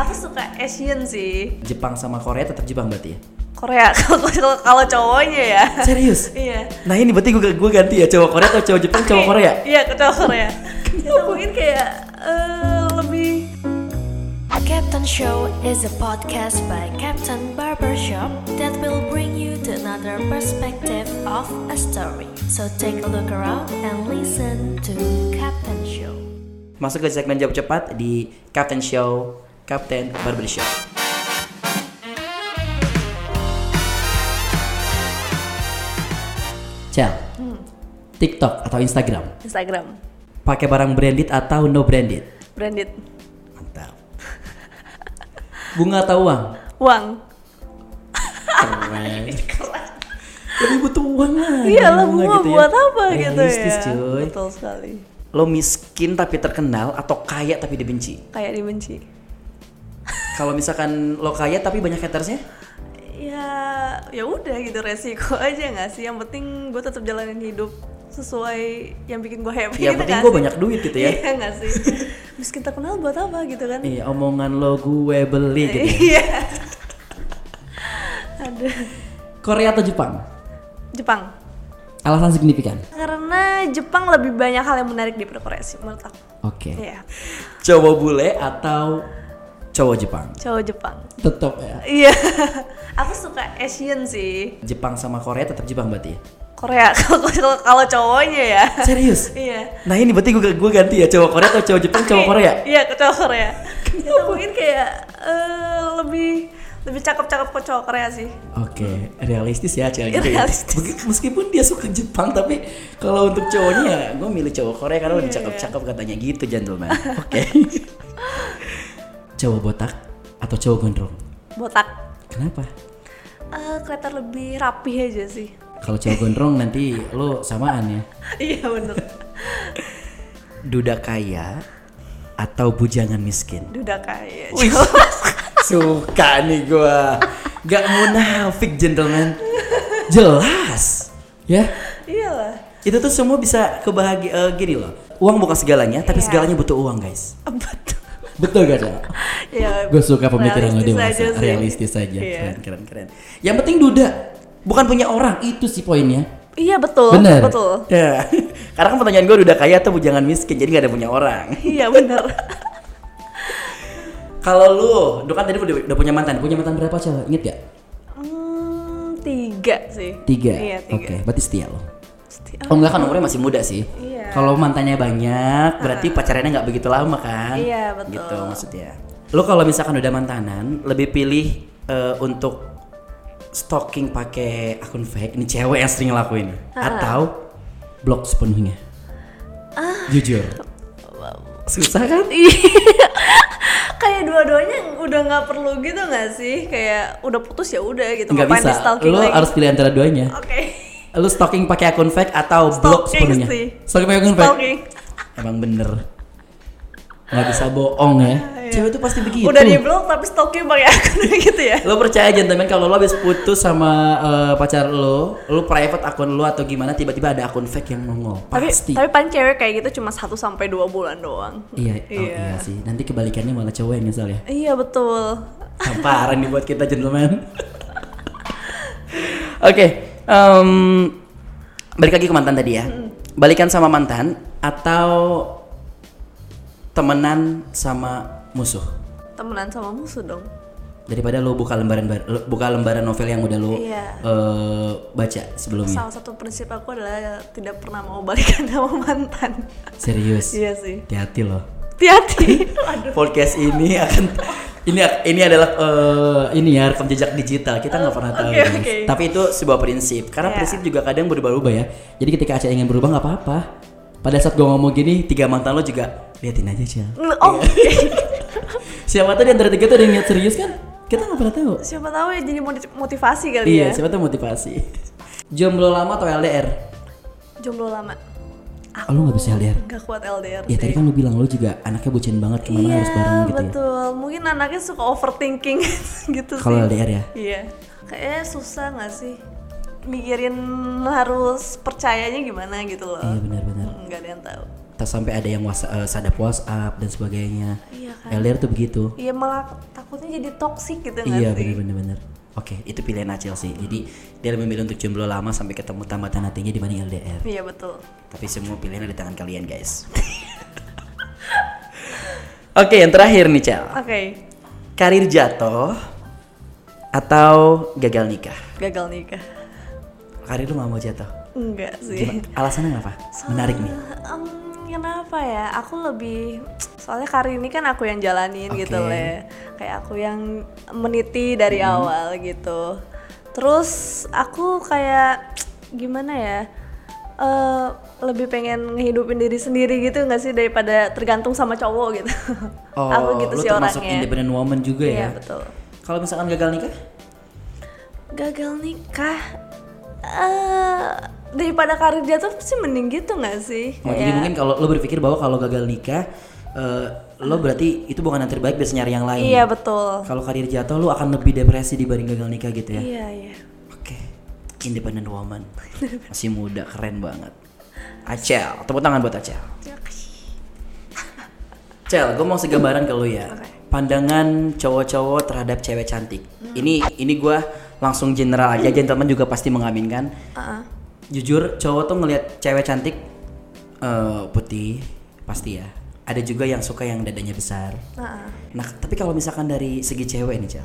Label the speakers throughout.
Speaker 1: aku suka Asian sih
Speaker 2: Jepang sama Korea tetap Jepang berarti ya?
Speaker 1: Korea kalau kalau- kalau cowoknya ya
Speaker 2: Serius?
Speaker 1: iya
Speaker 2: Nah ini berarti gue gue ganti ya cowok Korea atau cowok Jepang cowok
Speaker 1: Oke,
Speaker 2: Korea?
Speaker 1: iya cowok Korea itu mungkin kayak eh, lebih
Speaker 3: Captain Show is a podcast by Captain Barbershop that will bring you to another perspective of a story. So take a look around and listen to Captain Show.
Speaker 2: Masuk ke segmen jawab cepat di Captain Show, Captain Barbershop. Cel,
Speaker 1: Hmm.
Speaker 2: TikTok atau Instagram?
Speaker 1: Instagram
Speaker 2: Pakai barang branded atau no branded?
Speaker 1: branded
Speaker 2: Mantap. Bunga atau uang?
Speaker 1: uang
Speaker 2: Keren. Lebih butuh uang lah.
Speaker 1: iya lah
Speaker 2: bunga
Speaker 1: bunga
Speaker 2: gitu ya.
Speaker 1: buat apa gitu
Speaker 2: Realistis,
Speaker 1: ya
Speaker 2: cuy.
Speaker 1: betul sekali
Speaker 2: Lo miskin tapi terkenal atau kaya tapi dibenci?
Speaker 1: kayak dibenci
Speaker 2: Kalau misalkan lo kaya tapi banyak hatersnya?
Speaker 1: ya ya udah gitu resiko aja nggak sih yang penting gue tetap jalanin hidup sesuai yang bikin gue happy
Speaker 2: Ya,
Speaker 1: gitu
Speaker 2: penting
Speaker 1: nggak
Speaker 2: gue
Speaker 1: sih?
Speaker 2: banyak duit gitu ya.
Speaker 1: iya nggak sih miskin terkenal buat apa gitu kan
Speaker 2: Iya, omongan lo gue beli gitu. ya.
Speaker 1: iya ada
Speaker 2: Korea atau Jepang?
Speaker 1: Jepang
Speaker 2: Alasan signifikan.
Speaker 1: karena Jepang lebih banyak hal yang menarik daripada Korea sih menurut aku
Speaker 2: Oke.
Speaker 1: Iya,
Speaker 2: Cowok bule atau cowok Jepang?
Speaker 1: cowok Jepang
Speaker 2: Tetap ya.
Speaker 1: iya aku suka Asian sih
Speaker 2: Jepang sama Korea tetap Jepang berarti ya?
Speaker 1: Korea kalau kalau- kalau cowoknya ya
Speaker 2: Serius?
Speaker 1: iya
Speaker 2: Nah ini berarti gue, gue ganti ya cowok Korea atau cowok Jepang cowok
Speaker 1: Oke,
Speaker 2: Korea? Iya.
Speaker 1: Iya, ke cowok Korea. Itu mungkin kayak eh, lebih lebih cakep-cakep ke cowok Korea sih.
Speaker 2: Oke, realistis ya cewek gitu ya.
Speaker 1: Realistis.
Speaker 2: Mungkin- Meskipun dia suka Jepang tapi kalau untuk cowoknya ya gue milih cowok Korea karena udah cakep-cakep katanya gitu gentleman. Oke. cowok botak atau cowok gondrong?
Speaker 1: Botak.
Speaker 2: Kenapa?
Speaker 1: Eh, kelihatan lebih rapi aja sih.
Speaker 2: Kalau cowok gondrong nanti lo samaan ya.
Speaker 1: iya, bener.
Speaker 2: Duda kaya atau bujangan miskin?
Speaker 1: Duda kaya.
Speaker 2: Suka nih gua. Gak munafik gentleman. Jelas. Ya.
Speaker 1: Iyalah.
Speaker 2: Itu tuh semua bisa kebahagia eh, gini loh. Uang bukan segalanya, tapi
Speaker 1: Iya.
Speaker 2: segalanya butuh uang, guys.
Speaker 1: Betul.
Speaker 2: Betul gak, Cel?
Speaker 1: Iya.
Speaker 2: Gue suka pemikiran lo
Speaker 1: realistis
Speaker 2: dewasa,
Speaker 1: aja sih.
Speaker 2: realistis aja.
Speaker 1: Iya.
Speaker 2: Keren, keren, keren. Yang penting duda, bukan punya orang, itu sih poinnya.
Speaker 1: Iya, betul.
Speaker 2: Bener.
Speaker 1: Betul.
Speaker 2: Ya. Karena kan pertanyaan gue duda kaya atau bujangan miskin, jadi gak ada punya orang.
Speaker 1: Iya, bener.
Speaker 2: Kalau lu, lu kan tadi udah, udah punya mantan, punya mantan berapa Cel? Ingat gak?
Speaker 1: Hmm, tiga sih.
Speaker 2: Tiga.
Speaker 1: Iya,
Speaker 2: Oke,
Speaker 1: tiga.
Speaker 2: berarti setia lo.
Speaker 1: Pasti-
Speaker 2: Oh enggak kan umurnya masih muda sih.
Speaker 1: Iya. Ah.
Speaker 2: Kalau mantannya banyak, berarti pacarannya nggak begitu lama kan?
Speaker 1: Iya, betul.
Speaker 2: Gitu maksudnya. Lo kalau misalkan udah mantanan, lebih pilih eh, untuk stalking pakai akun fake ini cewek yang sering ngelakuin
Speaker 1: Ah.
Speaker 2: atau blok sepenuhnya?
Speaker 1: Ah.
Speaker 2: Jujur. Susah kan?
Speaker 1: Iya. kayak dua-duanya udah nggak perlu gitu nggak sih kayak udah putus ya udah gitu
Speaker 2: Nggak
Speaker 1: ngapain
Speaker 2: bisa.
Speaker 1: di-stalking
Speaker 2: Lo
Speaker 1: lagi?
Speaker 2: harus pilih antara duanya.
Speaker 1: oke
Speaker 2: Lo stalking pakai akun fake atau blok
Speaker 1: Stalking
Speaker 2: sepenuhnya?
Speaker 1: sih.
Speaker 2: Stalking pakai akun fake.
Speaker 1: stalking
Speaker 2: Emang bener nggak bisa bohong ya Cewek tuh pasti begitu
Speaker 1: Iya. udah di blok tapi stalking pakai akun gitu ya
Speaker 2: Lo percaya gentleman kalau lo habis putus sama eh, pacar lo Lo private akun lo atau gimana tiba-tiba ada akun fake yang nongol
Speaker 1: tapi
Speaker 2: Pasti
Speaker 1: tapi paling cewek kayak gitu cuma 1 sampai dua bulan doang
Speaker 2: Iya, oh,
Speaker 1: iya
Speaker 2: iya sih Nanti kebalikannya malah cowok yang nyesel ya
Speaker 1: Iya, betul
Speaker 2: Tamparan nih buat kita gentleman Oke em, Balik lagi ke mantan tadi ya
Speaker 1: Hmm.
Speaker 2: Balikan sama mantan Atau Temenan sama musuh
Speaker 1: temenan sama musuh dong
Speaker 2: daripada lo buka lembaran bar- lo buka lembaran novel yang udah lo
Speaker 1: Iya.
Speaker 2: eh, baca sebelumnya
Speaker 1: salah satu prinsip aku adalah tidak pernah mau balikan sama mantan
Speaker 2: serius
Speaker 1: iya sih
Speaker 2: hati-hati lo
Speaker 1: hati-hati Aduh.
Speaker 2: podcast ini akan ini ini adalah eh, ini ya rekam jejak digital kita nggak pernah tahu
Speaker 1: oke,
Speaker 2: guys.
Speaker 1: oke.
Speaker 2: tapi itu sebuah prinsip karena
Speaker 1: Iya.
Speaker 2: prinsip juga kadang berubah-ubah ya jadi ketika Aca ingin berubah nggak apa-apa pada saat gue ngomong gini tiga mantan lo juga liatin aja Aca
Speaker 1: oh
Speaker 2: Iya. siapa tahu di antara tiga tuh ada yang niat serius kan kita nggak pernah tahu
Speaker 1: siapa tahu ya jadi moti- motivasi kali ya
Speaker 2: iya siapa tahu motivasi jomblo lama atau LDR
Speaker 1: jomblo lama
Speaker 2: Ah, lo nggak bisa LDR
Speaker 1: nggak kuat LDR
Speaker 2: Ya
Speaker 1: sih.
Speaker 2: tadi kan lu bilang lu juga anaknya bucin banget kemana
Speaker 1: Iya,
Speaker 2: harus bareng gitu ya.
Speaker 1: betul. Mungkin anaknya suka overthinking gitu
Speaker 2: Kalau
Speaker 1: sih.
Speaker 2: LDR ya.
Speaker 1: Iya. Kayaknya susah nggak sih mikirin harus percayanya gimana gitu loh.
Speaker 2: Iya benar-benar.
Speaker 1: Mm, Nggak ada yang tahu.
Speaker 2: Tak sampai ada yang wasa- eh, sadap WhatsApp dan sebagainya.
Speaker 1: Iya kan
Speaker 2: LDR tuh begitu
Speaker 1: Iya malah takutnya jadi toksik gitu nggak
Speaker 2: Iya
Speaker 1: sih?
Speaker 2: bener bener bener. Oke itu pilihan Acil sih. Jadi dia lebih memilih untuk jomblo lama sampai ketemu tambatan hatinya dibanding LDR.
Speaker 1: Iya betul.
Speaker 2: Tapi semua pilihan ada di tangan kalian guys. Oke yang terakhir nih Cel.
Speaker 1: Oke,
Speaker 2: Karir jatuh atau gagal nikah?
Speaker 1: gagal nikah.
Speaker 2: Karir lu nggak mau jatuh?
Speaker 1: Enggak sih.
Speaker 2: Gimana? Alasannya kenapa? Menarik nih.
Speaker 1: Em, kenapa ya? Aku lebih soalnya karir ini kan aku yang jalanin
Speaker 2: Oke. Mm-hmm.
Speaker 1: gitu le. Kayak aku yang meniti dari awal gitu. Terus aku kayak gimana ya? Eh lebih pengen ngehidupin diri sendiri gitu nggak sih daripada tergantung sama cowok gitu. aku gitu
Speaker 2: Oh, lu
Speaker 1: sih
Speaker 2: termasuk
Speaker 1: orangnya.
Speaker 2: independent woman juga
Speaker 1: Iya
Speaker 2: ya?
Speaker 1: betul.
Speaker 2: Kalau misalkan gagal nikah?
Speaker 1: Gagal nikah. Eh daripada karir jatuh sih mending gitu nggak sih?
Speaker 2: Oh, Jadi
Speaker 1: Kayak-
Speaker 2: mungkin kalau lo berpikir bahwa kalau gagal nikah, eh, lo berarti itu bukan yang terbaik biasa nyari yang lain.
Speaker 1: Iya betul.
Speaker 2: Kalau karir jatuh lu akan lebih depresi dibanding gagal nikah gitu ya.
Speaker 1: Iya iya.
Speaker 2: Oke. Independent woman. Masih muda, keren banget. Acel, tepuk tangan buat Acel. Cel, gue mau segambaran ke lu ya. Pandangan cowok-cowok terhadap cewek cantik. Ini ini gue langsung general aja, gentleman juga pasti mengaminkan. Jujur, cowok tuh ngelihat cewek cantik eh, putih pasti ya. Ada juga yang suka yang dadanya besar.
Speaker 1: Heeh. Hmm.
Speaker 2: Nah, tapi kalau misalkan dari segi cewek nih, Cel.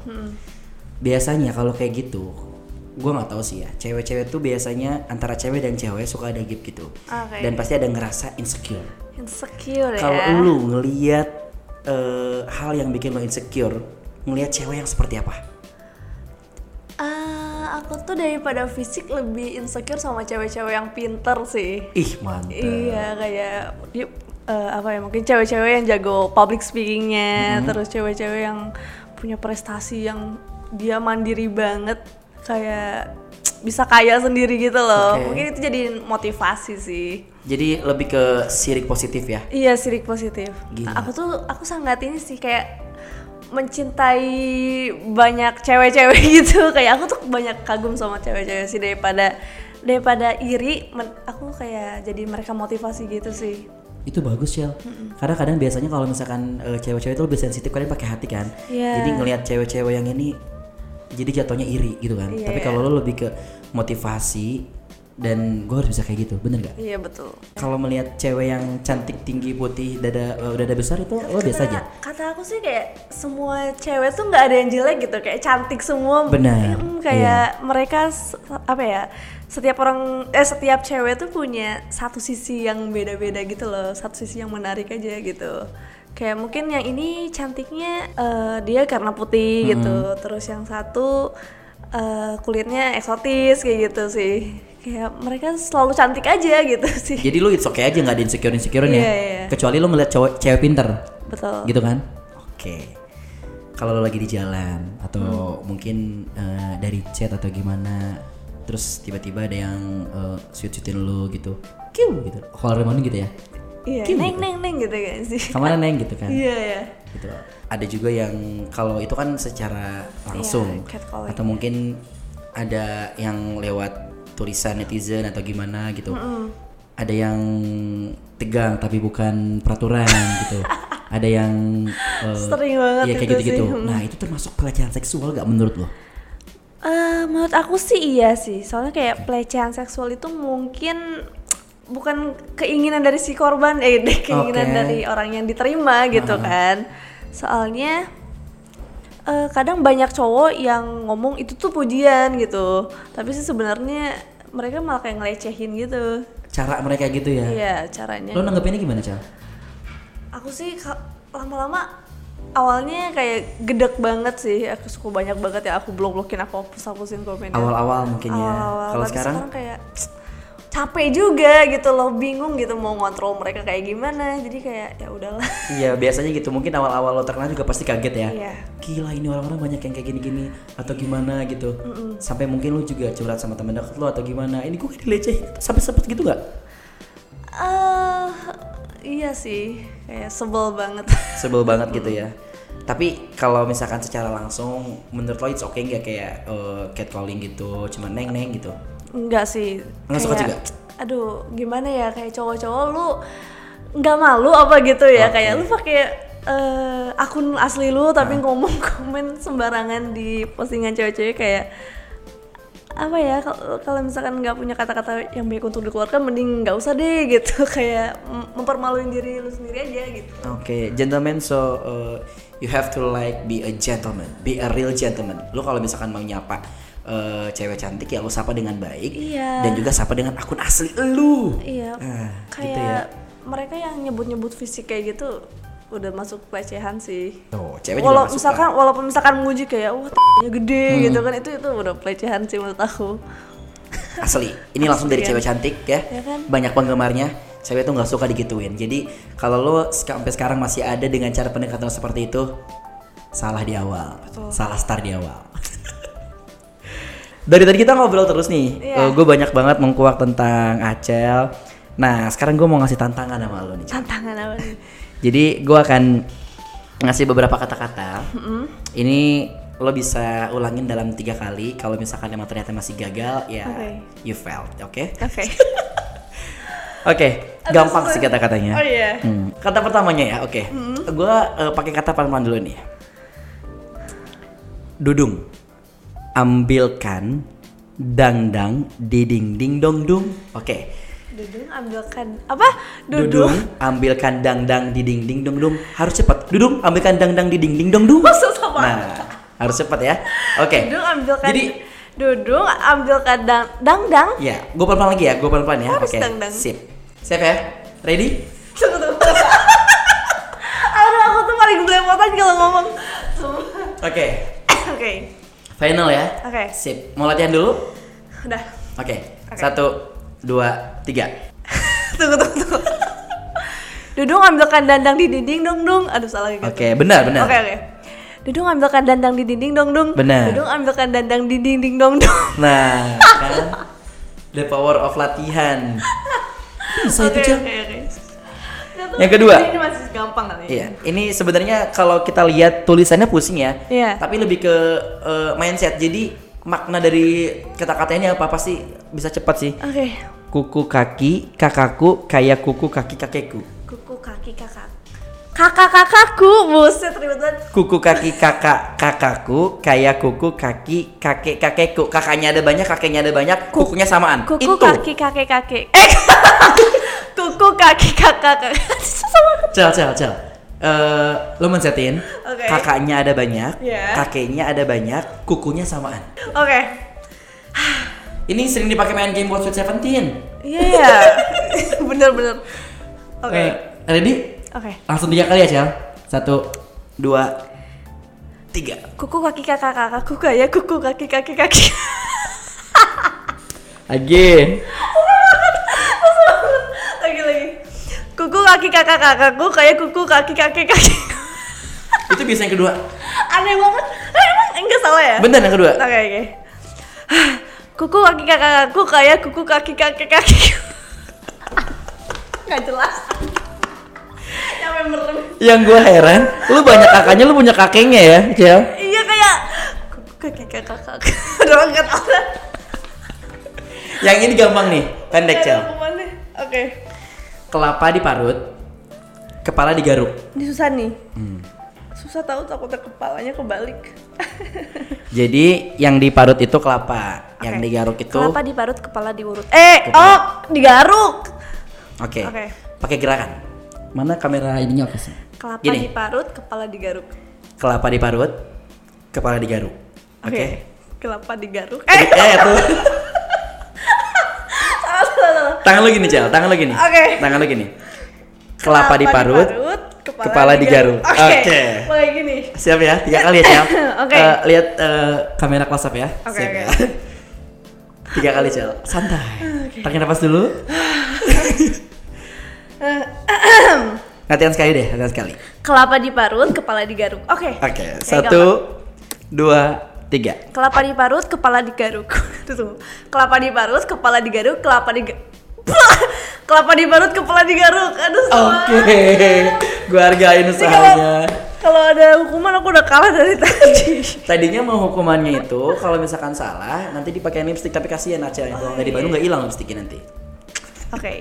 Speaker 2: Biasanya kalau kayak gitu, gue nggak tahu sih ya. Cewek-cewek tuh biasanya antara cewek dan cewek suka ada gap gitu.
Speaker 1: Ah, Oke.
Speaker 2: Dan pasti ada ngerasa insecure.
Speaker 1: Insecure ya.
Speaker 2: Kalau lu ngeliat eh, hal yang bikin lo insecure, ngeliat cewek yang seperti apa?
Speaker 1: Ah, aku tuh daripada fisik lebih insecure sama cewek-cewek yang pinter sih.
Speaker 2: Ih, mantap.
Speaker 1: Iya kayak dia eh, apa ya mungkin cewek-cewek yang jago public
Speaker 2: Hmm.
Speaker 1: speakingnya, terus cewek-cewek yang punya prestasi yang dia mandiri banget kayak bisa kaya sendiri gitu loh.
Speaker 2: Oke.
Speaker 1: Mungkin itu jadi motivasi sih.
Speaker 2: Jadi lebih ke sirik positif ya.
Speaker 1: Iya, sirik positif.
Speaker 2: Gila.
Speaker 1: Aku tuh aku sangat ini sih kayak mencintai banyak cewek-cewek gitu. Kayak aku tuh banyak kagum sama cewek-cewek sih daripada daripada iri, men- aku kayak jadi mereka motivasi gitu sih.
Speaker 2: Itu bagus, Shell. Karena kadang biasanya kalau misalkan eh, cewek-cewek itu lebih sensitif kadang pakai hati kan.
Speaker 1: Iya.
Speaker 2: Jadi ngelihat cewek-cewek yang ini jadi jatuhnya iri gitu kan.
Speaker 1: Iya.
Speaker 2: Tapi kalau lo lebih ke motivasi dan gue harus bisa kayak gitu, bener gak?
Speaker 1: Iya, betul.
Speaker 2: Kalau melihat cewek yang cantik, tinggi, putih, dada eh, dada besar itu lo biasa aja.
Speaker 1: Kata, kata aku sih kayak semua cewek tuh nggak ada yang jelek gitu, kayak cantik semua.
Speaker 2: Benar, Iya.
Speaker 1: Mm, kayak mereka s- apa ya? Setiap orang eh setiap cewek tuh punya satu sisi yang beda-beda gitu loh, satu sisi yang menarik aja gitu. Kayak mungkin yang ini cantiknya eh, dia karena putih gitu, terus yang satu eh, kulitnya eksotis kayak gitu sih. Kayak mereka selalu cantik aja gitu sih.
Speaker 2: Jadi lu it's okay aja nggak ada insecure insecurean
Speaker 1: Iya,
Speaker 2: ya.
Speaker 1: iya. Oh.
Speaker 2: Kecuali lu ngeliat cowok cewek pinter,
Speaker 1: Betul.
Speaker 2: gitu kan? Oke. Kalau lu lagi di jalan
Speaker 1: Hmm.
Speaker 2: atau mungkin eh, dari chat atau gimana, terus tiba-tiba ada yang eh, sweet-sweetin lu gitu, kiu gitu. Kalau Raymond gitu ya,
Speaker 1: Iya,
Speaker 2: Kim
Speaker 1: neng
Speaker 2: gitu.
Speaker 1: neng neng gitu kan sih.
Speaker 2: kemana neng gitu kan?
Speaker 1: Iya ya.
Speaker 2: gitu. Ada juga yang kalau itu kan secara langsung
Speaker 1: Iya, catcalling.
Speaker 2: atau mungkin ada yang lewat tulisan netizen atau gimana gitu. Ada yang tegang tapi bukan peraturan gitu. Ada yang eh,
Speaker 1: Sering banget
Speaker 2: iya, kayak
Speaker 1: itu
Speaker 2: gitu-gitu.
Speaker 1: sih.
Speaker 2: Nah, itu termasuk pelecehan seksual gak menurut lo?
Speaker 1: Eh, menurut aku sih iya sih. Soalnya kayak pelecehan seksual itu mungkin bukan keinginan dari si korban, eh deh, keinginan
Speaker 2: Oke.
Speaker 1: dari orang yang diterima gitu kan. Soalnya eh, kadang banyak cowok yang ngomong itu tuh pujian gitu, tapi sih sebenarnya mereka malah kayak ngelecehin gitu.
Speaker 2: Cara mereka gitu ya.
Speaker 1: Iya caranya.
Speaker 2: Lo nanggepinnya gimana, Cal?
Speaker 1: Aku sih ka- lama-lama awalnya kayak gedek banget sih. Aku suka banyak banget ya aku blok-blokin aku hapus-hapusin komennya.
Speaker 2: Awal-awal mungkin ya.
Speaker 1: Awal-awal,
Speaker 2: Kalau
Speaker 1: tapi
Speaker 2: sekarang
Speaker 1: kayak "Tsk, capek juga gitu loh, bingung gitu mau ngontrol mereka kayak gimana. Jadi kayak ya udahlah.
Speaker 2: Iya biasanya gitu mungkin awal-awal lo terkenal juga pasti kaget ya.
Speaker 1: Iya.
Speaker 2: Gila ini orang-orang banyak yang kayak gini-gini atau gimana gitu. Sampai mungkin lo juga curhat sama teman dekat lo atau gimana. Ini gue dilecehin sampai sempet gitu gak?
Speaker 1: Eh iya sih, kayak sebel banget.
Speaker 2: Sebel banget gitu ya. Tapi kalau misalkan secara langsung menurut lo it's okay nggak kayak eh, catcalling gitu, cuma neng-neng gitu.
Speaker 1: Enggak sih.
Speaker 2: Nggak suka
Speaker 1: kayak,
Speaker 2: juga?
Speaker 1: Aduh, gimana ya kayak cowok-cowok lu nggak malu apa gitu ya
Speaker 2: Oke.
Speaker 1: kayak lu pakai eh, akun asli lu tapi ngomong komen sembarangan di postingan cewek-cewek kayak apa ya kal- kalau misalkan nggak punya kata-kata yang baik untuk dikeluarkan mending nggak usah deh gitu kayak mem- mempermaluin diri lu sendiri aja gitu
Speaker 2: Oke, gentleman so uh, you have to like be a gentleman, be a real gentleman. Lu kalau misalkan mau nyapa uh, cewek cantik ya lu sapa dengan baik
Speaker 1: Iya.
Speaker 2: dan juga sapa dengan akun asli lu.
Speaker 1: iya
Speaker 2: Ah,
Speaker 1: kayak
Speaker 2: gitu ya.
Speaker 1: mereka yang nyebut-nyebut fisik kayak gitu udah masuk pelecehan sih
Speaker 2: Tuh,
Speaker 1: Walau
Speaker 2: cewek juga Hmm. masuk,
Speaker 1: misalkan
Speaker 2: Kak.
Speaker 1: walaupun misalkan muji kayak wah t***nya gede gitu kan itu itu udah pelecehan sih menurut aku.
Speaker 2: asli. Ini langsung dari
Speaker 1: Iya.
Speaker 2: cewek cantik ya.
Speaker 1: Iya kan?
Speaker 2: Banyak penggemarnya. Cewek tuh nggak suka digituin. Jadi kalau lu seka- sampai sekarang masih ada dengan cara pendekatan seperti itu, salah di awal. Salah start di awal. Dari tadi kita ngobrol terus nih.
Speaker 1: Iya.
Speaker 2: gue banyak banget mengkuak tentang Acel. Nah, sekarang gue mau ngasih tantangan sama lo nih. Cel.
Speaker 1: Tantangan apa nih?
Speaker 2: Jadi gue akan ngasih beberapa kata-kata. Ini lo bisa ulangin dalam tiga kali. Kalau misalkan emang ternyata masih gagal, ya
Speaker 1: Oke.
Speaker 2: you failed, oke?
Speaker 1: Oke.
Speaker 2: Oke, gampang sih kata-katanya.
Speaker 1: Oh iya.
Speaker 2: Hmm, Kata pertamanya ya, oke. Gua eh, pakai kata pelan-pelan dulu nih. Dudung. Ambilkan dangdang di ding ding dong dung. Oke.
Speaker 1: Dudung ambilkan apa? Dudung.
Speaker 2: Dudung, ambilkan dangdang di ding ding dong dung. Harus cepat. Dudung, ambilkan dangdang di ding ding dong dung.
Speaker 1: Susah banget.
Speaker 2: Nah, harus cepat ya. Oke.
Speaker 1: Oh, Dudung ambilkan
Speaker 2: Jadi
Speaker 1: Dudung ambilkan dang dang dang.
Speaker 2: ya, gue pelan-pelan lagi ya, gue pelan-pelan ya.
Speaker 1: Harus
Speaker 2: Oke.
Speaker 1: dangdang.
Speaker 2: Sip. Siap ya? Ready?
Speaker 1: Tunggu tunggu. Aduh aku tuh paling belepotan kalau ngomong. Sumpah.
Speaker 2: Oke.
Speaker 1: Oke.
Speaker 2: Final ya?
Speaker 1: Oke.
Speaker 2: Sip. Mau latihan dulu?
Speaker 1: Udah.
Speaker 2: Oke. Satu, dua, tiga.
Speaker 1: Tunggu tunggu tunggu. Dudung ambilkan dandang di dinding dong dong. Aduh salah lagi.
Speaker 2: Oke, benar, benar.
Speaker 1: Oke oke. Dudung ambilkan dandang di dinding dong dong.
Speaker 2: Benar.
Speaker 1: Dudung ambilkan dandang di dinding dong dong.
Speaker 2: Nah, kan? The power of latihan. Hmm, Bisa itu, Cel.
Speaker 1: oke. Nggak tahu,
Speaker 2: Yang kedua.
Speaker 1: Ini masih gampang kali. ya?
Speaker 2: Iya, ini sebenarnya kalau kita lihat tulisannya pusing ya.
Speaker 1: Iya.
Speaker 2: Tapi lebih ke eh, mindset. Jadi makna dari kata-katanya apa pasti bisa cepat sih.
Speaker 1: Oke.
Speaker 2: Kuku kaki kakakku kayak kuku kaki kakekku.
Speaker 1: Kuku kaki kakak. Kakak kakakku, buset ribet banget.
Speaker 2: Kuku kaki kakak kakakku kayak kuku kaki kakek kakekku. Kakaknya ada banyak, kakeknya ada banyak, kukunya samaan.
Speaker 1: Kuku
Speaker 2: Itu.
Speaker 1: kaki kakek kakek. Eh. Kuku kaki kakak kakak. Susah banget.
Speaker 2: Cel, cel, cel. Eh, lo mencetin
Speaker 1: Oke.
Speaker 2: kakaknya ada banyak,
Speaker 1: Iya.
Speaker 2: kakeknya ada banyak, kukunya samaan.
Speaker 1: Oke.
Speaker 2: Ini sering dipakai main game World Sweet Seventeen.
Speaker 1: Iya ya. Bener bener. Oke.
Speaker 2: Eh, ready?
Speaker 1: Oke.
Speaker 2: Langsung tiga kali ya, Cel. Satu, dua, tiga.
Speaker 1: Kuku kaki kakak kakakku kayak kuku kaki kaki kaki.
Speaker 2: Again.
Speaker 1: lagi lagi. Kuku kaki kakak kakakku kayak kuku kaki kaki kaki.
Speaker 2: Itu biasa yang kedua.
Speaker 1: Aneh banget. Eh, emang enggak salah ya?
Speaker 2: Bener yang kedua.
Speaker 1: Oke oke. Hah, Kuku kaki kakakku kayak kuku kaki kaki kaki. Gak jelas. Sampai merem.
Speaker 2: Yang gue heran, lu banyak kakaknya, lu punya kakeknya ya, Cel.
Speaker 1: Iya kayak kuku kaki kakak kakak. Udah angkat orang.
Speaker 2: Yang ini gampang nih, pendek,
Speaker 1: Gak ada
Speaker 2: Cel.
Speaker 1: hukumannya. Oke.
Speaker 2: Kelapa diparut, kepala digaruk.
Speaker 1: Ini susah nih.
Speaker 2: Hmm.
Speaker 1: Susah tahu takutnya kepalanya kebalik.
Speaker 2: Jadi yang diparut itu kelapa, yang
Speaker 1: Oke.
Speaker 2: digaruk itu
Speaker 1: Kelapa diparut kepala diurut. Eh,
Speaker 2: Kepala.
Speaker 1: oh, digaruk.
Speaker 2: Oke.
Speaker 1: Oke.
Speaker 2: Pakai gerakan. Mana kamera ininya oke sih?
Speaker 1: Kelapa
Speaker 2: Gini.
Speaker 1: diparut, kepala digaruk.
Speaker 2: Kelapa diparut, kepala digaruk. Oke.
Speaker 1: Kelapa digaruk.
Speaker 2: Jadi,
Speaker 1: Eh,
Speaker 2: Eh tuh.
Speaker 1: salah salah. salah.
Speaker 2: Tangan lu gini, Cel. Tangan lu gini.
Speaker 1: Oke.
Speaker 2: Tangan lu gini. Kelapa, diparut.
Speaker 1: kepala,
Speaker 2: kepala digaruk.
Speaker 1: Oke.
Speaker 2: Oke.
Speaker 1: Mulai gini.
Speaker 2: Siap ya? Tiga kali ya, Cel.
Speaker 1: Oke.
Speaker 2: Eh, lihat eh, kamera close up ya.
Speaker 1: Oke,
Speaker 2: Siap
Speaker 1: oke.
Speaker 2: ya. Tiga kali, Cel. Santai. Tarik nafas dulu. Latihan sekali deh, latihan sekali.
Speaker 1: Kelapa diparut, kepala digaruk. Oke.
Speaker 2: Oke,
Speaker 1: Kayak
Speaker 2: satu,
Speaker 1: gampang.
Speaker 2: dua, tiga.
Speaker 1: Kelapa diparut, kepala digaruk. Tuh tuh. Kelapa diparut, kepala digaruk, kelapa digaruk. kelapa diparut, kepala digaruk. Aduh, salah.
Speaker 2: Oke, gua hargain
Speaker 1: Ini kalau
Speaker 2: usahanya.
Speaker 1: kalau ada hukuman aku udah kalah dari tadi.
Speaker 2: Tadinya mau hukumannya itu kalau misalkan salah nanti dipakai lipstick tapi kasihan aja yang buang dari baru nggak hilang lipstiknya nanti.
Speaker 1: Oke.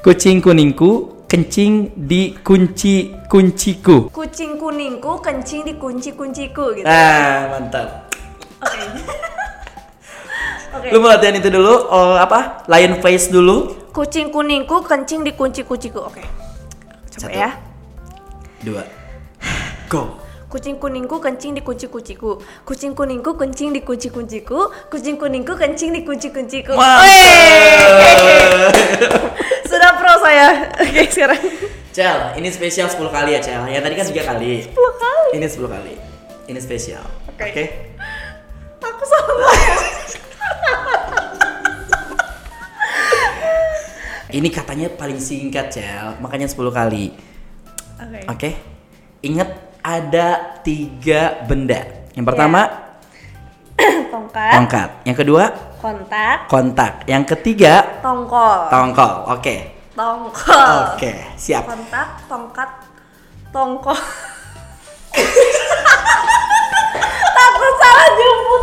Speaker 2: Kucing kuningku kencing di kunci kunciku.
Speaker 1: Kucing kuningku kencing di kunci kunciku gitu.
Speaker 2: Ah, mantap.
Speaker 1: Oke. Oke.
Speaker 2: Lu mau latihan itu dulu oh, apa? Lion face dulu.
Speaker 1: Kucing kuningku kencing di kunci kunciku. Oke. Coba
Speaker 2: Satu.
Speaker 1: ya.
Speaker 2: Dua. Go.
Speaker 1: Kucing kuningku kencing di kunci kunciku. Kucing kuningku kencing di kunci kunciku. Kucing kuningku kencing di kunci kunciku.
Speaker 2: Mantap.
Speaker 1: Sudah pro saya. Oke, sekarang.
Speaker 2: Cel, ini spesial 10 kali ya, Cel. Ya tadi kan 3 kali. 10
Speaker 1: kali?
Speaker 2: Ini 10 kali. Ini spesial.
Speaker 1: Oke. Aku salah.
Speaker 2: Ini katanya paling singkat, Cel. Makanya 10 kali.
Speaker 1: Oke.
Speaker 2: Oke. Ingat ada tiga benda. Yang pertama,
Speaker 1: Tongkat,
Speaker 2: tongkat. Yang kedua,
Speaker 1: kontak,
Speaker 2: kontak. Yang ketiga,
Speaker 1: tongkol.
Speaker 2: tongkol. Oke.
Speaker 1: Tongkol.
Speaker 2: Oke, siap.
Speaker 1: Kontak, tongkat, tongkol. Takut salah jemput.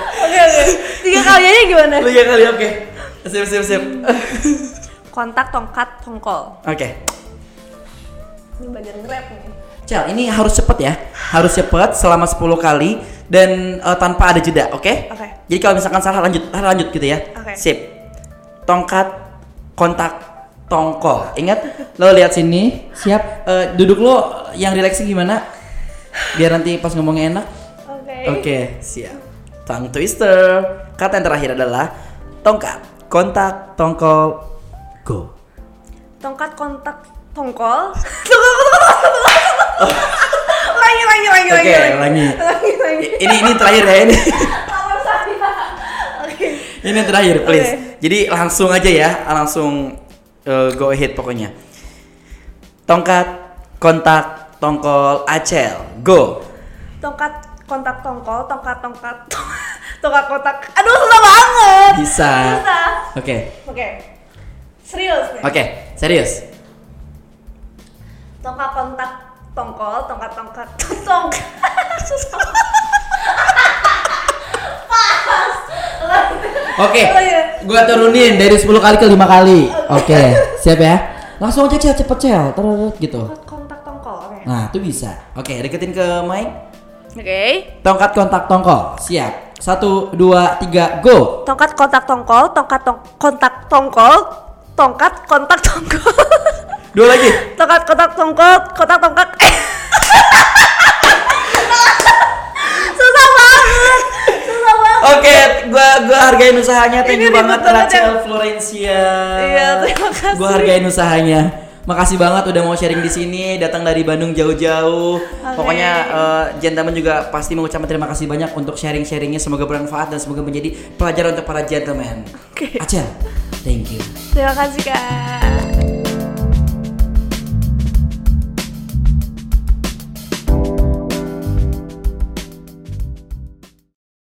Speaker 1: Oke, oke. Tiga kalinya gimana?
Speaker 2: Lu ya kali oke. Sip, sip, sip.
Speaker 1: Kontak, tongkat, tongkol.
Speaker 2: Oke.
Speaker 1: Ini bagian grab nih.
Speaker 2: Cel, ini harus cepet ya. Harus cepet selama 10 kali dan eh, tanpa ada jeda, oke?
Speaker 1: Oke.
Speaker 2: Jadi kalau misalkan salah lanjut, salah lanjut gitu ya.
Speaker 1: Oke.
Speaker 2: Sip. Tongkat, kontak, tongkol. Ingat, lo lihat sini. Siap. Eh, duduk lo yang relaxing gimana? Biar nanti pas ngomongnya enak.
Speaker 1: Oke.
Speaker 2: Oke, siap. Tongue twister. Kata yang terakhir adalah tongkat, kontak, tongkol, go.
Speaker 1: Tongkat, kontak, tongkol. Tunggu, tunggu, tunggu, tunggu. Ulangi, ulangi, ulangi,
Speaker 2: Oke,
Speaker 1: ulangi,
Speaker 2: ulangi.
Speaker 1: Ulangi, ulangi.
Speaker 2: I- Ini ini terakhir ya ini.
Speaker 1: Salah saya. Oke.
Speaker 2: Ini yang terakhir, please.
Speaker 1: Oke.
Speaker 2: Jadi langsung aja ya, langsung uh, go ahead pokoknya. Tongkat, kontak, tongkol, acel, go.
Speaker 1: tongkat kontak tongkol tongkat tongkat tongkat kontak aduh susah banget
Speaker 2: Bisa.
Speaker 1: susah
Speaker 2: Oke,
Speaker 1: oke serius nih
Speaker 2: oke, serius.
Speaker 1: tongkat kontak tongkol tongkat tongkat tongkat susah banget.
Speaker 2: Oke,
Speaker 1: Oh, iya.
Speaker 2: gua turunin dari 10 kali ke 5 kali. Oke, siap ya? Langsung aja cel, cepet cel, terus gitu.
Speaker 1: Tongkat kontak tongkol oke
Speaker 2: Nah, itu bisa. Oke, deketin ke mic.
Speaker 1: oke
Speaker 2: Tongkat kontak tongkol, siap. Satu, dua, tiga, go.
Speaker 1: tongkat kontak tongkol tongkat tong kontak tongkol tongkat kontak tongkol
Speaker 2: Dua lagi.
Speaker 1: tongkat kontak tongkol kontak tongkat susah banget susah banget
Speaker 2: Oke, gua gua hargain usahanya. Thank
Speaker 1: Ini
Speaker 2: you
Speaker 1: ribet
Speaker 2: banget
Speaker 1: banget
Speaker 2: Rachel
Speaker 1: ya.
Speaker 2: Florencia.
Speaker 1: Iya, terima kasih.
Speaker 2: Gua hargain usahanya. Makasih banget udah mau sharing di sini, datang dari Bandung jauh-jauh. Pokoknya eh, gentleman juga pasti mengucapkan terima kasih banyak untuk sharing-sharingnya. Semoga bermanfaat dan semoga menjadi pelajaran untuk para gentleman.
Speaker 1: Oke.
Speaker 2: Acel, thank you.
Speaker 1: terima kasih kak